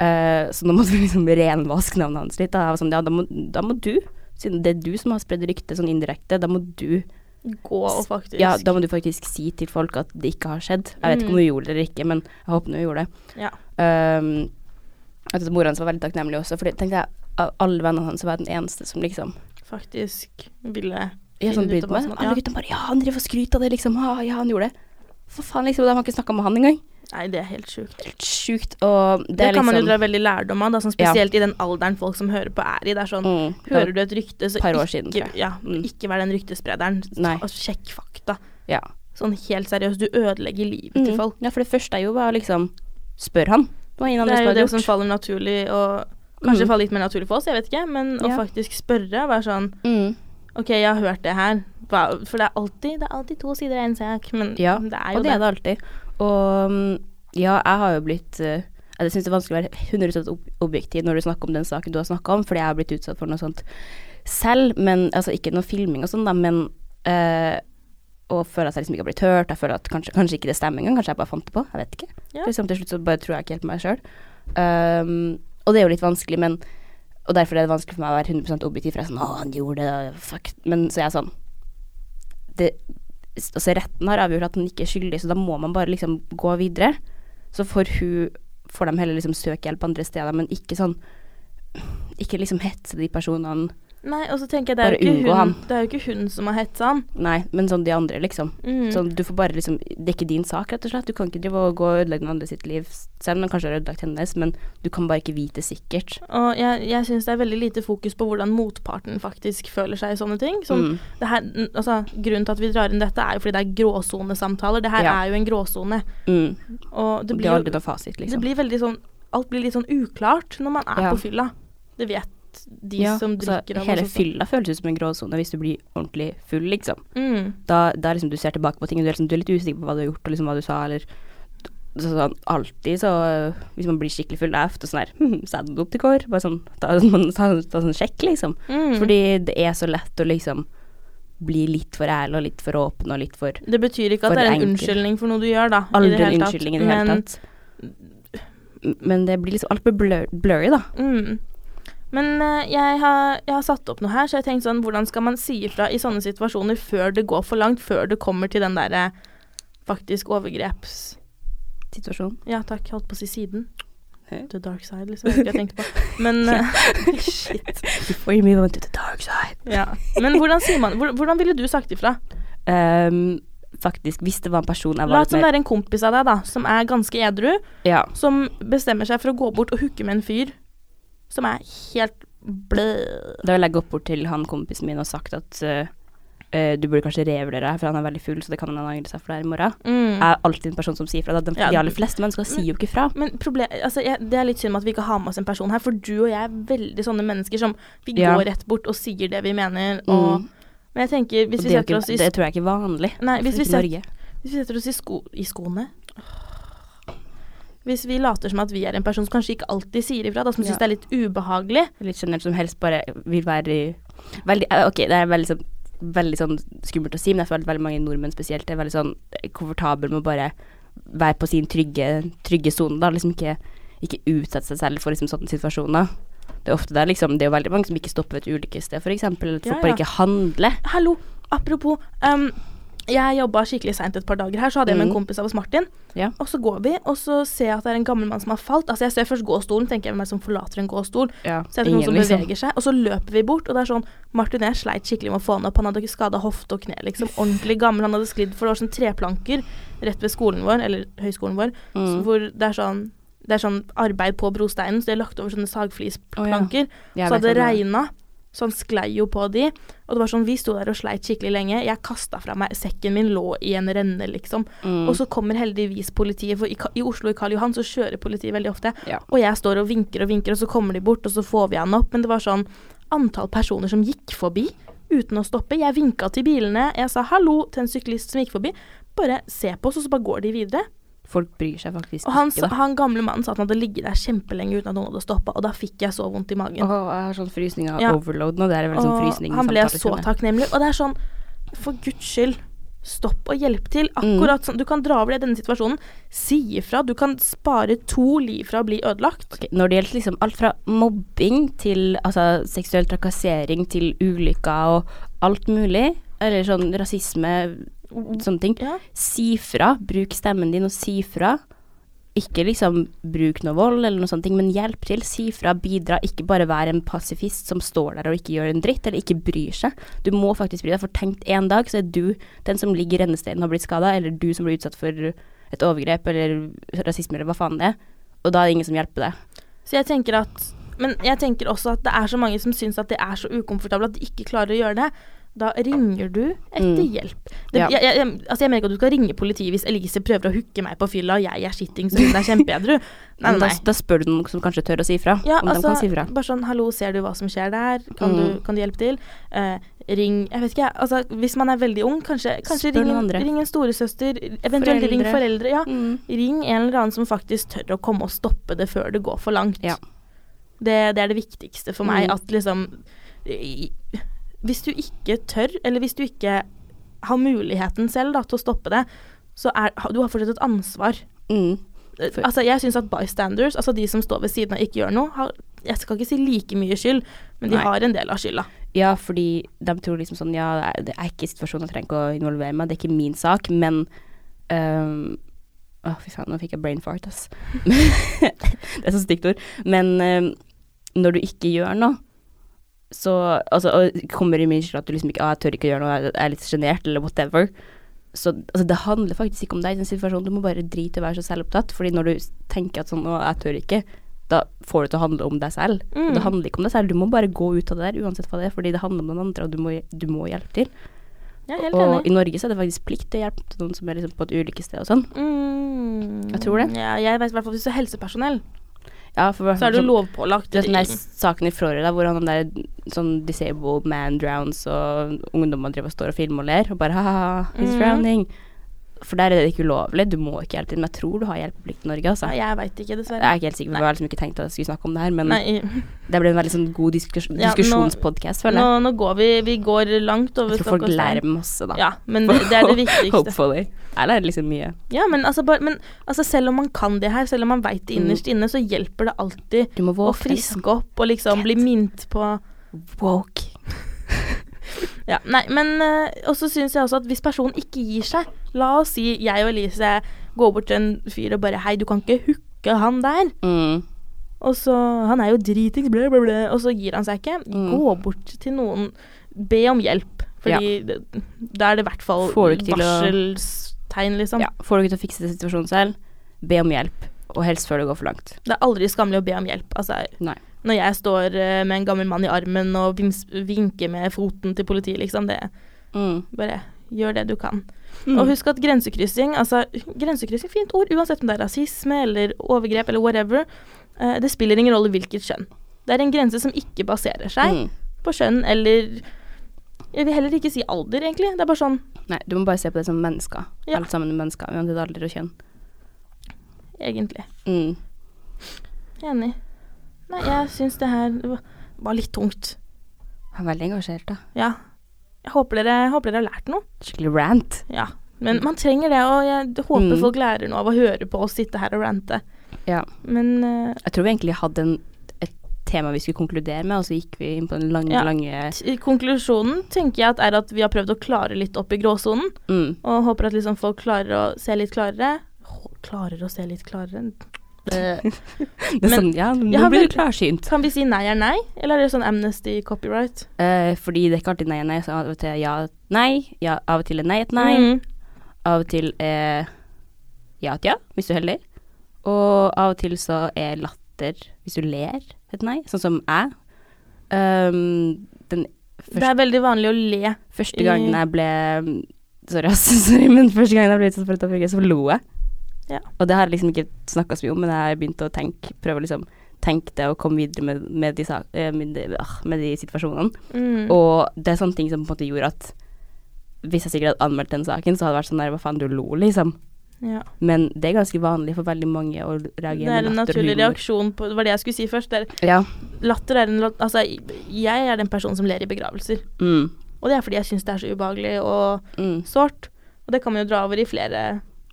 [SPEAKER 2] Eh, så nå måtte vi liksom renvaske navnet hans litt. Da, Jeg var sånn, ja, da, må, da må du, siden det er du som har spredd ryktet sånn indirekte, da må du
[SPEAKER 1] Gå og faktisk
[SPEAKER 2] ja, da må du faktisk si til folk at det ikke har skjedd. Jeg vet ikke om
[SPEAKER 1] Mm.
[SPEAKER 2] hun gjorde det eller ikke, men jeg håper hun gjorde det.
[SPEAKER 1] Ja.
[SPEAKER 2] Ehm, jeg synes mora hans var veldig takknemlig også, for tenkte jeg, av alle vennene hans så var jeg den eneste som liksom
[SPEAKER 1] faktisk ville
[SPEAKER 2] Jeg sånn
[SPEAKER 1] Finne ut
[SPEAKER 2] brydde
[SPEAKER 1] av hva
[SPEAKER 2] meg.
[SPEAKER 1] som-
[SPEAKER 2] Alle
[SPEAKER 1] ja.
[SPEAKER 2] guttene bare Ja, han driver og skryter av det, liksom. Ah, ja, han gjorde det. For faen, liksom. De har ikke snakka med han engang.
[SPEAKER 1] Nei, det er helt sjukt.
[SPEAKER 2] Helt sjukt. Og det,
[SPEAKER 1] Det,
[SPEAKER 2] er
[SPEAKER 1] kan
[SPEAKER 2] liksom
[SPEAKER 1] man jo dra veldig lærdom av, da, sånn
[SPEAKER 2] Ja.
[SPEAKER 1] spesielt i den alderen folk som hører på er i. Det er sånn
[SPEAKER 2] mm,
[SPEAKER 1] Hører du et rykte, så
[SPEAKER 2] Et par år
[SPEAKER 1] ikke,
[SPEAKER 2] siden, tror jeg.
[SPEAKER 1] ja,
[SPEAKER 2] Mm.
[SPEAKER 1] ikke vær den ryktesprederen. Ta-
[SPEAKER 2] Nei.
[SPEAKER 1] Og sjekk fakta.
[SPEAKER 2] Ja.
[SPEAKER 1] Sånn helt seriøst, du ødelegger livet til
[SPEAKER 2] Mm.
[SPEAKER 1] folk.
[SPEAKER 2] ja, for det første jeg gjorde, var å liksom spørre han. Det var ingen
[SPEAKER 1] Det
[SPEAKER 2] andre
[SPEAKER 1] er
[SPEAKER 2] som
[SPEAKER 1] jo
[SPEAKER 2] hadde
[SPEAKER 1] det som
[SPEAKER 2] gjort.
[SPEAKER 1] faller naturlig, og kanskje
[SPEAKER 2] Mm.
[SPEAKER 1] faller litt mer naturlig for oss, jeg vet ikke, men å
[SPEAKER 2] Ja.
[SPEAKER 1] faktisk spørre og være sånn
[SPEAKER 2] Mm.
[SPEAKER 1] Ok, jeg har hørt det her. Hva- For det er alltid, det er alltid to sider av en sak, men
[SPEAKER 2] Ja,
[SPEAKER 1] det er
[SPEAKER 2] Og
[SPEAKER 1] jo
[SPEAKER 2] det
[SPEAKER 1] det.
[SPEAKER 2] er det alltid. Og mm, ja, jeg har jo blitt eh, Jeg syns det er vanskelig å være 100 ob- objektiv når du snakker om den saken du har snakka om, fordi jeg har blitt utsatt for noe sånt selv. Men altså ikke noe filming og sånn, da, men eh, Og føler at jeg liksom ikke har blitt hørt. Jeg føler at kanskje, kanskje ikke det stemmer engang. Kanskje jeg bare fant det på. Jeg vet ikke.
[SPEAKER 1] Ja.
[SPEAKER 2] Liksom, til slutt så bare tror jeg ikke helt på meg sjøl. Um, og det er jo litt vanskelig, men Og derfor er det vanskelig for meg å være 100 objektiv, for jeg er sånn Å, han gjorde det, fuck. Men så er jeg sånn det, altså retten har avgjort at den ikke er skyldig, så da må man bare liksom gå videre. Så får hun får de heller liksom søke hjelp andre steder, men ikke sånn Ikke liksom hetse de personene
[SPEAKER 1] Nei, og så tenker jeg det er,
[SPEAKER 2] Bare
[SPEAKER 1] jo ikke
[SPEAKER 2] unngå
[SPEAKER 1] hun,
[SPEAKER 2] han.
[SPEAKER 1] det er jo ikke hun som har hetsa han.
[SPEAKER 2] Nei, men sånn de andre, liksom.
[SPEAKER 1] Mm.
[SPEAKER 2] Sånn, du får bare liksom Det er ikke din sak, rett og slett. Du kan ikke drive og gå og ødelegge noen andre sitt liv, selv om den kanskje har ødelagt hennes, men du kan bare ikke vite sikkert.
[SPEAKER 1] Og jeg, jeg syns det er veldig lite fokus på hvordan motparten faktisk føler seg i sånne ting. Sånn,
[SPEAKER 2] Mm.
[SPEAKER 1] det her, n- altså, grunnen til at vi drar inn dette, er jo fordi det er gråsonesamtaler. Det her
[SPEAKER 2] Ja.
[SPEAKER 1] er jo en gråsone.
[SPEAKER 2] Mm.
[SPEAKER 1] Og det
[SPEAKER 2] Det
[SPEAKER 1] blir,
[SPEAKER 2] er
[SPEAKER 1] jo-
[SPEAKER 2] aldri noe fasit,
[SPEAKER 1] det
[SPEAKER 2] liksom.
[SPEAKER 1] blir veldig sånn Alt blir litt sånn uklart når man er
[SPEAKER 2] Ja.
[SPEAKER 1] på fylla. Det vet de
[SPEAKER 2] Ja,
[SPEAKER 1] som
[SPEAKER 2] altså,
[SPEAKER 1] drikker. av
[SPEAKER 2] hele
[SPEAKER 1] oss også.
[SPEAKER 2] fylla føles ut som en gråsone hvis du blir ordentlig full, liksom.
[SPEAKER 1] Mm.
[SPEAKER 2] Da, da liksom du ser tilbake på ting, og du er, liksom, du er litt usikker på hva du har gjort, og liksom hva du sa, eller så, sånn, Alltid så øh, Hvis man blir skikkelig full, det er ofte sånn her hm, Sa du det opp til kår? Bare sånn ta, ta, ta, ta sånn sjekk, liksom.
[SPEAKER 1] Mm.
[SPEAKER 2] Fordi det er så lett å liksom bli litt for ærlig og litt for åpen og litt for
[SPEAKER 1] det betyr ikke at
[SPEAKER 2] For
[SPEAKER 1] det er en
[SPEAKER 2] enkel.
[SPEAKER 1] unnskyldning for noe du gjør, da. i
[SPEAKER 2] Aldri
[SPEAKER 1] det hele
[SPEAKER 2] en
[SPEAKER 1] tatt.
[SPEAKER 2] unnskyldning i det hele
[SPEAKER 1] Men-
[SPEAKER 2] tatt. Men det blir liksom Alt blir blur, blurry, da.
[SPEAKER 1] Mm. Men eh, jeg, har, jeg har satt opp noe her, så jeg tenkte sånn Hvordan skal man si ifra i sånne situasjoner før det går for langt? Før det kommer til den derre faktisk overgreps...
[SPEAKER 2] Situasjonen.
[SPEAKER 1] Ja takk, holdt på å si siden.
[SPEAKER 2] Hæ?
[SPEAKER 1] The dark side, liksom. Det var ikke det jeg tenkte på. Men, eh, shit.
[SPEAKER 2] Before you move on to the dark side.
[SPEAKER 1] Ja. Men hvordan sier man hvor- Hvordan ville du sagt ifra?
[SPEAKER 2] Ehm, faktisk, hvis det var en person
[SPEAKER 1] La
[SPEAKER 2] jeg var
[SPEAKER 1] oss sånn
[SPEAKER 2] litt
[SPEAKER 1] som
[SPEAKER 2] mer
[SPEAKER 1] det er en kompis av deg, da, som er ganske edru,
[SPEAKER 2] Ja.
[SPEAKER 1] som bestemmer seg for å gå bort og hooke med en fyr som er helt blø.
[SPEAKER 2] Da ville jeg gått bort til han kompisen min og sagt at eh, eh, du burde kanskje revurdere deg, for han er veldig full, så det kan hende han angrer seg for det her i morgen.
[SPEAKER 1] Mm.
[SPEAKER 2] Jeg er alltid en person som sier fra. Da. De,
[SPEAKER 1] Ja,
[SPEAKER 2] de aller fleste mennesker sier jo ikke fra.
[SPEAKER 1] Men problem, altså, jeg, det er litt synd med at vi ikke har med oss en person her, for du og jeg er veldig sånne mennesker som vi
[SPEAKER 2] Ja.
[SPEAKER 1] går rett bort og sier det vi mener. Og,
[SPEAKER 2] Mm.
[SPEAKER 1] Men jeg tenker, hvis
[SPEAKER 2] Og
[SPEAKER 1] vi,
[SPEAKER 2] det, er jo
[SPEAKER 1] setter oss
[SPEAKER 2] ikke,
[SPEAKER 1] i,
[SPEAKER 2] det tror jeg ikke er vanlig.
[SPEAKER 1] nei, hvis,
[SPEAKER 2] Ikke
[SPEAKER 1] vi
[SPEAKER 2] i
[SPEAKER 1] set,
[SPEAKER 2] Norge.
[SPEAKER 1] hvis vi setter oss i, sko, i skoene Hvis vi later som at vi er en person som kanskje ikke alltid sier ifra, da, som
[SPEAKER 2] Ja.
[SPEAKER 1] syns det er litt ubehagelig
[SPEAKER 2] Litt generelt som helst bare vil være i- veldig, eh, Ok, det er veldig sånn, veldig sånn skummelt å si, men jeg føler at veldig mange nordmenn spesielt er veldig sånn komfortabel med å bare være på sin trygge, trygge sone, da. Liksom ikke, ikke utsette seg selv for liksom sånne situasjoner. Det er ofte der, liksom, det er jo veldig mange som ikke stopper ved et ulykkessted, f.eks. Eller at
[SPEAKER 1] Ja,
[SPEAKER 2] folk bare
[SPEAKER 1] ja.
[SPEAKER 2] ikke handler.
[SPEAKER 1] Hallo, apropos ehm, Jeg jobba skikkelig seint et par dager her, så hadde jeg med en
[SPEAKER 2] Mm.
[SPEAKER 1] kompis av oss, Martin.
[SPEAKER 2] Ja.
[SPEAKER 1] Og så går vi, og så ser jeg at det er en gammel mann som har falt. Altså, jeg ser først gåstolen, tenker jeg hvem er det som forlater en gåstol? Så er det noen som
[SPEAKER 2] liksom.
[SPEAKER 1] beveger seg, og så løper vi bort, og det er sånn Martin og jeg sleit skikkelig med å få han opp. Han hadde skada hofte og kne, liksom. Ordentlig gammel. Han hadde sklidd for det var sånn treplanker rett ved skolen vår, eller høyskolen vår, så
[SPEAKER 2] Mm.
[SPEAKER 1] hvor det er sånn det er sånn arbeid på brosteinen, så de har lagt over sånne sagflisplanker.
[SPEAKER 2] Jeg
[SPEAKER 1] Så hadde
[SPEAKER 2] vet
[SPEAKER 1] det
[SPEAKER 2] hva det er. sånn,
[SPEAKER 1] regna, så han sklei jo på de. Og det var sånn, vi sto der og sleit skikkelig lenge. Jeg kasta fra meg Sekken min lå i en renne, liksom.
[SPEAKER 2] Mm.
[SPEAKER 1] Og så kommer heldigvis politiet, for i, Ka- i Oslo, i Karl Johan, så kjører politiet veldig ofte.
[SPEAKER 2] Ja.
[SPEAKER 1] Og jeg står og vinker og vinker, og så kommer de bort, og så får vi han opp. Men det var sånn antall personer som gikk forbi uten å stoppe. Jeg vinka til bilene, jeg sa hallo til en syklist som gikk forbi. Bare se på oss, og så bare går de videre.
[SPEAKER 2] Folk bryr seg faktisk
[SPEAKER 1] Og han,
[SPEAKER 2] ikke,
[SPEAKER 1] sa-
[SPEAKER 2] da.
[SPEAKER 1] han gamle mannen sa at han hadde ligget der kjempelenge uten at noen hadde stoppa, og da fikk jeg så vondt i magen.
[SPEAKER 2] Åh, jeg har sånn frysning av
[SPEAKER 1] Ja.
[SPEAKER 2] overload nå. Det er veldig sånn frysning.
[SPEAKER 1] han ble
[SPEAKER 2] samtale,
[SPEAKER 1] så
[SPEAKER 2] skjønner jeg.
[SPEAKER 1] takknemlig. Og det er sånn, for guds skyld, stopp og hjelp til.
[SPEAKER 2] Mm.
[SPEAKER 1] Akkurat sånn. Du kan dra over det i denne situasjonen. Si ifra. Du kan spare to liv fra å bli ødelagt.
[SPEAKER 2] Ok, Når det gjelder liksom alt fra mobbing til altså, seksuell trakassering til ulykker og alt mulig, eller sånn rasisme, sånne ting,
[SPEAKER 1] Ja.
[SPEAKER 2] si fra. Bruk stemmen din og si fra. Ikke liksom bruk noe vold eller noe sånt, men hjelp til. Si fra, bidra. Ikke bare vær en pasifist som står der og ikke gjør en dritt, eller ikke bryr seg. Du må faktisk bry deg, for tenkt en dag så er du den som ligger i rennesteinen og har blitt skada, eller du som blir utsatt for et overgrep eller rasisme eller hva faen det er. Og da er det ingen som hjelper deg.
[SPEAKER 1] Så jeg tenker at Men jeg tenker også at det er så mange som syns at det er så ukomfortabelt at de ikke klarer å gjøre det. Da ringer du etter
[SPEAKER 2] Mm.
[SPEAKER 1] hjelp. Det,
[SPEAKER 2] Ja.
[SPEAKER 1] jeg, jeg, jeg- altså jeg mener ikke at du skal ringe politiet hvis Elise prøver å hooke meg på fylla og jeg er shitting så hun er kjempeedru. Nei, nei,
[SPEAKER 2] Men da,
[SPEAKER 1] nei.
[SPEAKER 2] da spør du noen som kanskje tør å si fra.
[SPEAKER 1] Ja,
[SPEAKER 2] om de
[SPEAKER 1] altså,
[SPEAKER 2] kan si fra.
[SPEAKER 1] bare sånn Hallo, ser du hva som skjer der? Kan,
[SPEAKER 2] Mm.
[SPEAKER 1] du, kan du hjelpe til? Eh, ring Jeg vet ikke, jeg. Altså, hvis man er veldig ung, kanskje, kanskje
[SPEAKER 2] Spør
[SPEAKER 1] ring,
[SPEAKER 2] noen
[SPEAKER 1] en-
[SPEAKER 2] andre.
[SPEAKER 1] ring en storesøster. Eventuelt ring
[SPEAKER 2] Foreldre.
[SPEAKER 1] foreldre. Ja.
[SPEAKER 2] Mm.
[SPEAKER 1] Ring en eller annen som faktisk tør å komme og stoppe det før det går for langt.
[SPEAKER 2] Ja.
[SPEAKER 1] Det, det er det viktigste for meg.
[SPEAKER 2] Mm.
[SPEAKER 1] At liksom i- Hvis du ikke tør, eller hvis du ikke har muligheten selv da, til å stoppe det, så er ha- du har fortsatt et ansvar.
[SPEAKER 2] Mm.
[SPEAKER 1] Eh,
[SPEAKER 2] For-
[SPEAKER 1] Altså, jeg syns at bystanders, altså de som står ved siden og ikke gjør noe, har Jeg skal ikke si like mye skyld, men de
[SPEAKER 2] Nei.
[SPEAKER 1] har en del av skylda.
[SPEAKER 2] Ja, fordi de tror liksom sånn Ja, det er, det er ikke situasjonen, jeg trenger ikke å involvere meg, det er ikke min sak, men øhm, Ehm, Å, fy faen, nå fikk jeg brain fart, ass. ehm, det er så stygt ord. Men øhm, når du ikke gjør noe, så altså, Og kommer i min skyld at du liksom ikke ah, 'Jeg tør ikke å gjøre noe, jeg er litt sjenert', eller whatever. Så altså, det handler faktisk ikke om deg i den situasjonen. Du må bare drite i å være så selvopptatt. Fordi når du tenker at sånn 'Å, jeg tør ikke', da får det til å handle om deg selv. Og det
[SPEAKER 1] Mm.
[SPEAKER 2] handler ikke om deg selv. Du må bare gå ut av det der, uansett hva det er, fordi det handler om noen andre, og du må, du må hjelpe til.
[SPEAKER 1] Jeg er helt
[SPEAKER 2] Og i
[SPEAKER 1] enig.
[SPEAKER 2] Norge så er det faktisk plikt til å hjelpe til noen som er liksom på et ulykkessted og sånn.
[SPEAKER 1] Mm.
[SPEAKER 2] Jeg tror det.
[SPEAKER 1] Ja, jeg vet i hvert fall hvis du er helsepersonell,
[SPEAKER 2] Ja, for
[SPEAKER 1] så er det jo
[SPEAKER 2] sånn-
[SPEAKER 1] lovpålagt.
[SPEAKER 2] Du vet den der saken i Florida hvor han den der sånn disabled man drowns, og ungdommer driver og står og filmer og ler, og bare ha-ha, he's
[SPEAKER 1] Mhm.
[SPEAKER 2] drowning. For der er det ikke ulovlig, du må ikke hjelpe til. Men jeg tror du har hjelpeplikt i Norge, altså.
[SPEAKER 1] Nei, jeg veit ikke,
[SPEAKER 2] Jeg
[SPEAKER 1] dessverre.
[SPEAKER 2] er ikke helt sikker, for jeg har liksom ikke tenkt at jeg skulle snakke om det her, men
[SPEAKER 1] Nei,
[SPEAKER 2] det ble en veldig sånn god diskus
[SPEAKER 1] Ja, nå- nå,
[SPEAKER 2] diskusjonspodcast, føler jeg.
[SPEAKER 1] nå går vi Vi går langt over
[SPEAKER 2] Jeg tror folk
[SPEAKER 1] stokk og stein.
[SPEAKER 2] lærer masse, da.
[SPEAKER 1] Ja, men det, det er det viktigste.
[SPEAKER 2] Hopefully. Jeg lærer liksom mye.
[SPEAKER 1] Ja, men, altså, bare, men altså, selv om man kan det her, selv om man veit det innerst
[SPEAKER 2] Mm.
[SPEAKER 1] inne, så hjelper det alltid
[SPEAKER 2] Du må
[SPEAKER 1] å
[SPEAKER 2] våke. liksom.
[SPEAKER 1] friske opp og liksom bli mint på
[SPEAKER 2] Woke.
[SPEAKER 1] ja, Nei, men eh, også syns jeg også at hvis personen ikke gir seg La oss si jeg og Elise går bort til en fyr og bare Hei, du kan ikke hooke han der.
[SPEAKER 2] Mm.
[SPEAKER 1] Og så Han er jo dritings, blæ, blæ, blæ. Og så gir han seg ikke.
[SPEAKER 2] Mm.
[SPEAKER 1] Gå bort til noen. Be om hjelp. Fordi det- da er det i hvert fall
[SPEAKER 2] Får du ikke til å-
[SPEAKER 1] varselstegn, liksom.
[SPEAKER 2] Ja. Får du ikke til å fikse situasjonen selv, be om hjelp. Og helst før det går for langt.
[SPEAKER 1] Det er aldri skammelig å be om hjelp. Altså,
[SPEAKER 2] Nei.
[SPEAKER 1] Når jeg står eh, med en gammel mann i armen og vims, vinker med foten til politiet, liksom. Det
[SPEAKER 2] Mm.
[SPEAKER 1] bare gjør det du kan.
[SPEAKER 2] Mm.
[SPEAKER 1] Og husk at grensekryssing altså, Grensekryssing er fint ord, uansett om det er rasisme eller overgrep eller whatever. eh, det spiller ingen rolle hvilket kjønn. Det er en grense som ikke baserer seg
[SPEAKER 2] Mm.
[SPEAKER 1] på kjønn eller Jeg vil heller ikke si alder, egentlig. Det er bare sånn
[SPEAKER 2] Nei, du må bare se på det som mennesker.
[SPEAKER 1] Ja.
[SPEAKER 2] Alt sammen er mennesker, uansett alder og kjønn.
[SPEAKER 1] egentlig.
[SPEAKER 2] Mm.
[SPEAKER 1] Enig. Nei, jeg syns det her var- var litt tungt.
[SPEAKER 2] Han er veldig engasjert, da.
[SPEAKER 1] Ja. Jeg håper dere, håper dere har lært noe.
[SPEAKER 2] Skikkelig rant.
[SPEAKER 1] Ja, men man trenger det, og jeg håper
[SPEAKER 2] Mm.
[SPEAKER 1] folk lærer noe av å høre på oss sitte her og rante.
[SPEAKER 2] Ja.
[SPEAKER 1] Men eh,
[SPEAKER 2] Jeg tror vi egentlig hadde en, et tema vi skulle konkludere med, og så gikk vi inn på den lange,
[SPEAKER 1] Ja.
[SPEAKER 2] lange
[SPEAKER 1] t- konklusjonen tenker jeg at er at vi har prøvd å klare litt opp i gråsonen,
[SPEAKER 2] mm.
[SPEAKER 1] og håper at liksom folk klarer å se litt klarere. Hå- Klarer å se litt klarere? Eh,
[SPEAKER 2] Det er
[SPEAKER 1] Men-
[SPEAKER 2] sånn, ja, nå
[SPEAKER 1] Jeg har
[SPEAKER 2] blir du
[SPEAKER 1] veldig-
[SPEAKER 2] klarsynt.
[SPEAKER 1] Kan vi si nei er nei, eller er det sånn amnesty copyright?
[SPEAKER 2] Eh, fordi det er ikke alltid nei og nei, så av og til er ja et nei, ja, av og til er nei et nei,
[SPEAKER 1] Mm.
[SPEAKER 2] av og til er ja et ja, hvis du er heldig. Og av og til så er latter, hvis du ler, et nei, sånn som jeg. Um, den første
[SPEAKER 1] Det er veldig vanlig å le.
[SPEAKER 2] Første gangen jeg ble Sorry, ass. Sorry, men første gangen jeg ble utsatt for et overgrep, så lo jeg.
[SPEAKER 1] Ja.
[SPEAKER 2] Og det har jeg liksom ikke snakka så mye om, men jeg har begynt å tenke, prøve å liksom tenke det og komme videre med, med, de, sak- eh, med, de, ah, med de situasjonene.
[SPEAKER 1] Mm.
[SPEAKER 2] Og det er sånne ting som på en måte gjorde at hvis jeg sikkert hadde anmeldt den saken, så hadde det vært sånn der Hva faen, du lo, liksom.
[SPEAKER 1] ja.
[SPEAKER 2] Men det er ganske vanlig for veldig mange å
[SPEAKER 1] Det
[SPEAKER 2] reagere
[SPEAKER 1] er
[SPEAKER 2] med
[SPEAKER 1] en
[SPEAKER 2] latter og
[SPEAKER 1] naturlig
[SPEAKER 2] humor.
[SPEAKER 1] reaksjon på Det var det jeg skulle si først. Det er,
[SPEAKER 2] Ja.
[SPEAKER 1] latter er en lat- Altså, jeg er den personen som ler i begravelser.
[SPEAKER 2] Mm.
[SPEAKER 1] Og det er fordi jeg syns det er så ubehagelig og
[SPEAKER 2] Mm.
[SPEAKER 1] sårt. Og det kan man jo dra over i flere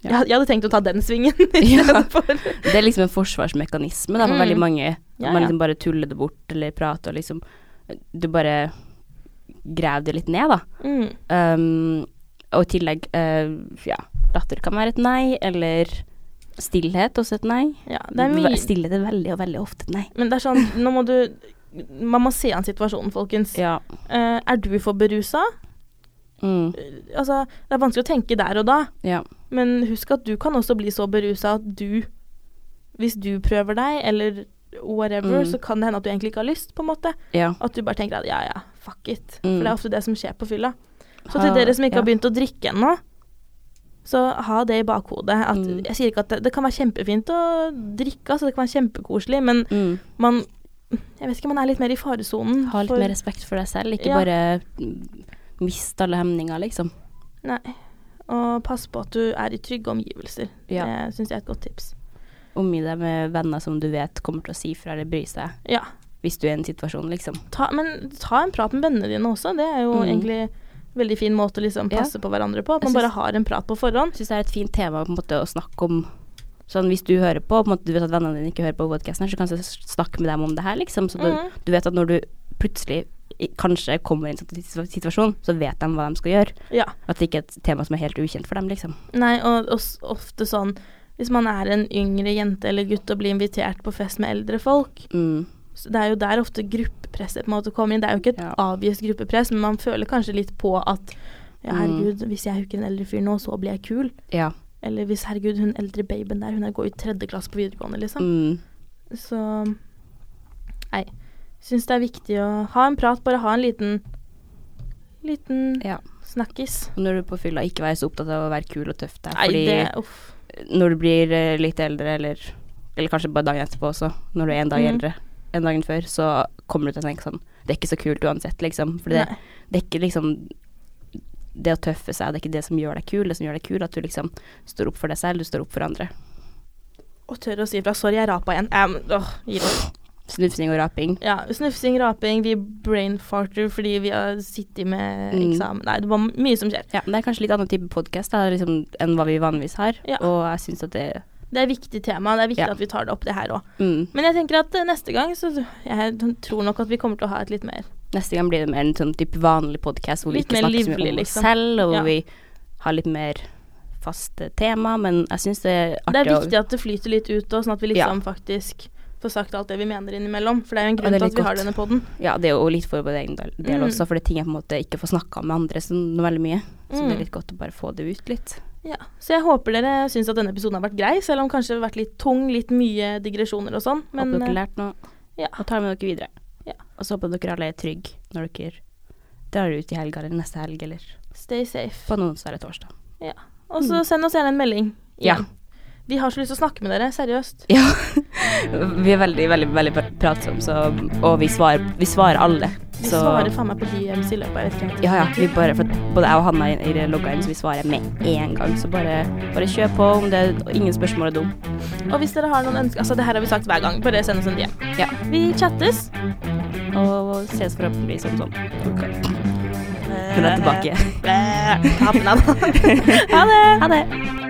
[SPEAKER 2] Ja.
[SPEAKER 1] jeg, jeg hadde tenkt å ta den svingen istedenfor.
[SPEAKER 2] Det er liksom en forsvarsmekanisme da, for
[SPEAKER 1] Mm.
[SPEAKER 2] veldig mange. At
[SPEAKER 1] Ja,
[SPEAKER 2] Man
[SPEAKER 1] ja.
[SPEAKER 2] liksom bare tuller det bort eller prater og liksom Du bare graver det litt ned, da.
[SPEAKER 1] Mm.
[SPEAKER 2] Um, og i tillegg, eh, ja Latter kan være et nei, eller stillhet også et nei.
[SPEAKER 1] Ja, det er mye
[SPEAKER 2] Stillhet er veldig og veldig ofte et nei.
[SPEAKER 1] Men det er sånn, nå må du Man må se an situasjonen, folkens.
[SPEAKER 2] Ja.
[SPEAKER 1] Eh, er du for berusa?
[SPEAKER 2] Mm.
[SPEAKER 1] Altså, det er vanskelig å tenke der og da,
[SPEAKER 2] ja.
[SPEAKER 1] men husk at du kan også bli så berusa at du Hvis du prøver deg, eller whatever,
[SPEAKER 2] Mm.
[SPEAKER 1] så kan det hende at du egentlig ikke har lyst, på en måte.
[SPEAKER 2] Ja.
[SPEAKER 1] At du bare tenker at ja, ja, fuck it.
[SPEAKER 2] Mm.
[SPEAKER 1] For det er ofte det som skjer på fylla. Så
[SPEAKER 2] Ha-
[SPEAKER 1] til dere som ikke har
[SPEAKER 2] ja.
[SPEAKER 1] begynt å drikke ennå, så ha det i bakhodet. At,
[SPEAKER 2] Mm.
[SPEAKER 1] Jeg sier ikke at det, det kan være kjempefint å drikke, altså det kan være kjempekoselig, men
[SPEAKER 2] mm.
[SPEAKER 1] man Jeg vet ikke, man er litt mer i faresonen.
[SPEAKER 2] Ha litt
[SPEAKER 1] for-
[SPEAKER 2] mer respekt for deg selv, ikke
[SPEAKER 1] Ja.
[SPEAKER 2] bare mm, mist alle hemninger, liksom.
[SPEAKER 1] Nei. Og pass på at du er i trygge omgivelser.
[SPEAKER 2] Ja.
[SPEAKER 1] Det syns jeg er et godt tips.
[SPEAKER 2] Omgi deg med venner som du vet kommer til å si fra eller bry seg,
[SPEAKER 1] Ja.
[SPEAKER 2] hvis du er i en situasjon, liksom.
[SPEAKER 1] Ta, men ta en prat med vennene dine også. Det er jo
[SPEAKER 2] Mm.
[SPEAKER 1] egentlig en veldig fin måte å liksom
[SPEAKER 2] Ja.
[SPEAKER 1] passe på hverandre på. At
[SPEAKER 2] Jeg
[SPEAKER 1] man bare
[SPEAKER 2] syns-
[SPEAKER 1] har en prat på forhånd.
[SPEAKER 2] Jeg syns det er et fint tema på en måte, å snakke om. Sånn, hvis du hører på, på en måte, du vet at vennene dine ikke hører på podcasten her, så kanskje snakke med dem om det her, liksom. Så du,
[SPEAKER 1] Mhm.
[SPEAKER 2] du vet at når du plutselig i- kanskje kommer i en sånn situ- situasjon, så vet de hva de skal gjøre.
[SPEAKER 1] Mm. Ja.
[SPEAKER 2] At det ikke er et tema som er helt ukjent for dem, liksom.
[SPEAKER 1] Nei, og, og s- ofte sånn Hvis man er en yngre jente eller gutt og blir invitert på fest med eldre folk,
[SPEAKER 2] Mm.
[SPEAKER 1] så det er jo der ofte grupp, gruppepresset på en måte kommer inn. Det er jo ikke et
[SPEAKER 2] Ja.
[SPEAKER 1] avvist gruppepress, men man føler kanskje litt på at
[SPEAKER 2] Mm.
[SPEAKER 1] ja, herregud, hvis jeg hooker en eldre fyr nå, så blir jeg kul.
[SPEAKER 2] Ja.
[SPEAKER 1] Eller hvis herregud, hun eldre baben der, hun er går i tredje klasse på videregående, liksom.
[SPEAKER 2] Mm.
[SPEAKER 1] Så nei. Syns det er viktig å ha en prat, bare ha en liten liten
[SPEAKER 2] ja.
[SPEAKER 1] snakkis.
[SPEAKER 2] Og når du er på fylla, ikke vær så opptatt av å være kul og tøff der.
[SPEAKER 1] Nei,
[SPEAKER 2] Fordi
[SPEAKER 1] det Uff.
[SPEAKER 2] når du blir eh, litt eldre, eller, eller kanskje bare dagen etterpå også, når du er en dag
[SPEAKER 1] Mm.
[SPEAKER 2] eldre enn dagen før, så kommer du til å tenke sånn Det er ikke så kult uansett, liksom. For det,
[SPEAKER 1] Nei.
[SPEAKER 2] det er ikke liksom det å tøffe seg, det er ikke det som gjør deg kul. Det som gjør deg kul, er at du liksom står opp for deg selv, du står opp for andre.
[SPEAKER 1] Og tør å si ifra. Sorry, jeg rapa igjen. Um, åh, gir opp.
[SPEAKER 2] Snufsing og raping.
[SPEAKER 1] Ja, snufsing, raping, vi brainfarter fordi vi har sittet med
[SPEAKER 2] Mm.
[SPEAKER 1] eksamen. Nei, det var mye som skjer.
[SPEAKER 2] Ja, men det er kanskje litt annen type podkast liksom, enn hva vi vanligvis har,
[SPEAKER 1] Ja.
[SPEAKER 2] og jeg syns at det
[SPEAKER 1] Det er et viktig tema. Det er viktig
[SPEAKER 2] Ja.
[SPEAKER 1] at vi tar det opp, det her òg.
[SPEAKER 2] mm,
[SPEAKER 1] Men jeg tenker at eh, neste gang så Jeg tror nok at vi kommer til å ha et litt mer
[SPEAKER 2] Neste gang blir det mer en sånn type vanlig podkast hvor
[SPEAKER 1] Litt
[SPEAKER 2] vi ikke
[SPEAKER 1] mer
[SPEAKER 2] snakker så
[SPEAKER 1] livlig,
[SPEAKER 2] mye om oss
[SPEAKER 1] liksom.
[SPEAKER 2] selv, og hvor
[SPEAKER 1] Ja.
[SPEAKER 2] vi har litt mer faste tema, men jeg syns det er
[SPEAKER 1] Det
[SPEAKER 2] artig
[SPEAKER 1] er viktig altså. at det flyter litt ut òg, sånn at vi liksom
[SPEAKER 2] Ja.
[SPEAKER 1] faktisk får sagt alt det vi mener innimellom. For det er jo en
[SPEAKER 2] Ja,
[SPEAKER 1] grunn
[SPEAKER 2] det er
[SPEAKER 1] til
[SPEAKER 2] litt
[SPEAKER 1] at vi har
[SPEAKER 2] godt.
[SPEAKER 1] denne poden.
[SPEAKER 2] å Ja, det er jo litt for vår egen del del
[SPEAKER 1] Mm.
[SPEAKER 2] også, for det er ting jeg på en måte ikke får snakka med andre så veldig mye. Så
[SPEAKER 1] Mm.
[SPEAKER 2] det er litt godt å bare få det ut litt.
[SPEAKER 1] Ja. Så jeg håper dere syns at denne episoden har vært grei, selv om kanskje det har vært litt tung, litt mye digresjoner og sånn. Men
[SPEAKER 2] håper dere har
[SPEAKER 1] eh,
[SPEAKER 2] lært noe,
[SPEAKER 1] ja.
[SPEAKER 2] og tar med dere videre.
[SPEAKER 1] Ja.
[SPEAKER 2] Og så håper jeg dere alle er trygge når dere drar ut i helga eller neste helg, eller
[SPEAKER 1] stay safe.
[SPEAKER 2] på en onsdag eller torsdag.
[SPEAKER 1] Og så send oss gjerne en melding.
[SPEAKER 2] Mm. Ja.
[SPEAKER 1] igjen. Vi har så lyst til å snakke med dere, seriøst.
[SPEAKER 2] Ja. Vi er veldig, veldig, veldig pratsomme, så, og vi svarer, vi svarer alle.
[SPEAKER 1] Vi
[SPEAKER 2] så-
[SPEAKER 1] svarer faen meg på DMs i løpet av et kveld.
[SPEAKER 2] Ja, ja. Vi bare, for både jeg og Hanna er- er logga inn, så vi svarer med en gang. Så bare, bare kjør på om det er ingen spørsmål er dum.
[SPEAKER 1] Og hvis dere har noen ønsker Altså, det her har vi sagt hver gang. Bare send oss en DM.
[SPEAKER 2] Ja.
[SPEAKER 1] Vi chattes.
[SPEAKER 2] Og ses forhåpentligvis om sånn. Hun er tilbake.
[SPEAKER 1] Eh, Ha det.
[SPEAKER 2] Ha det.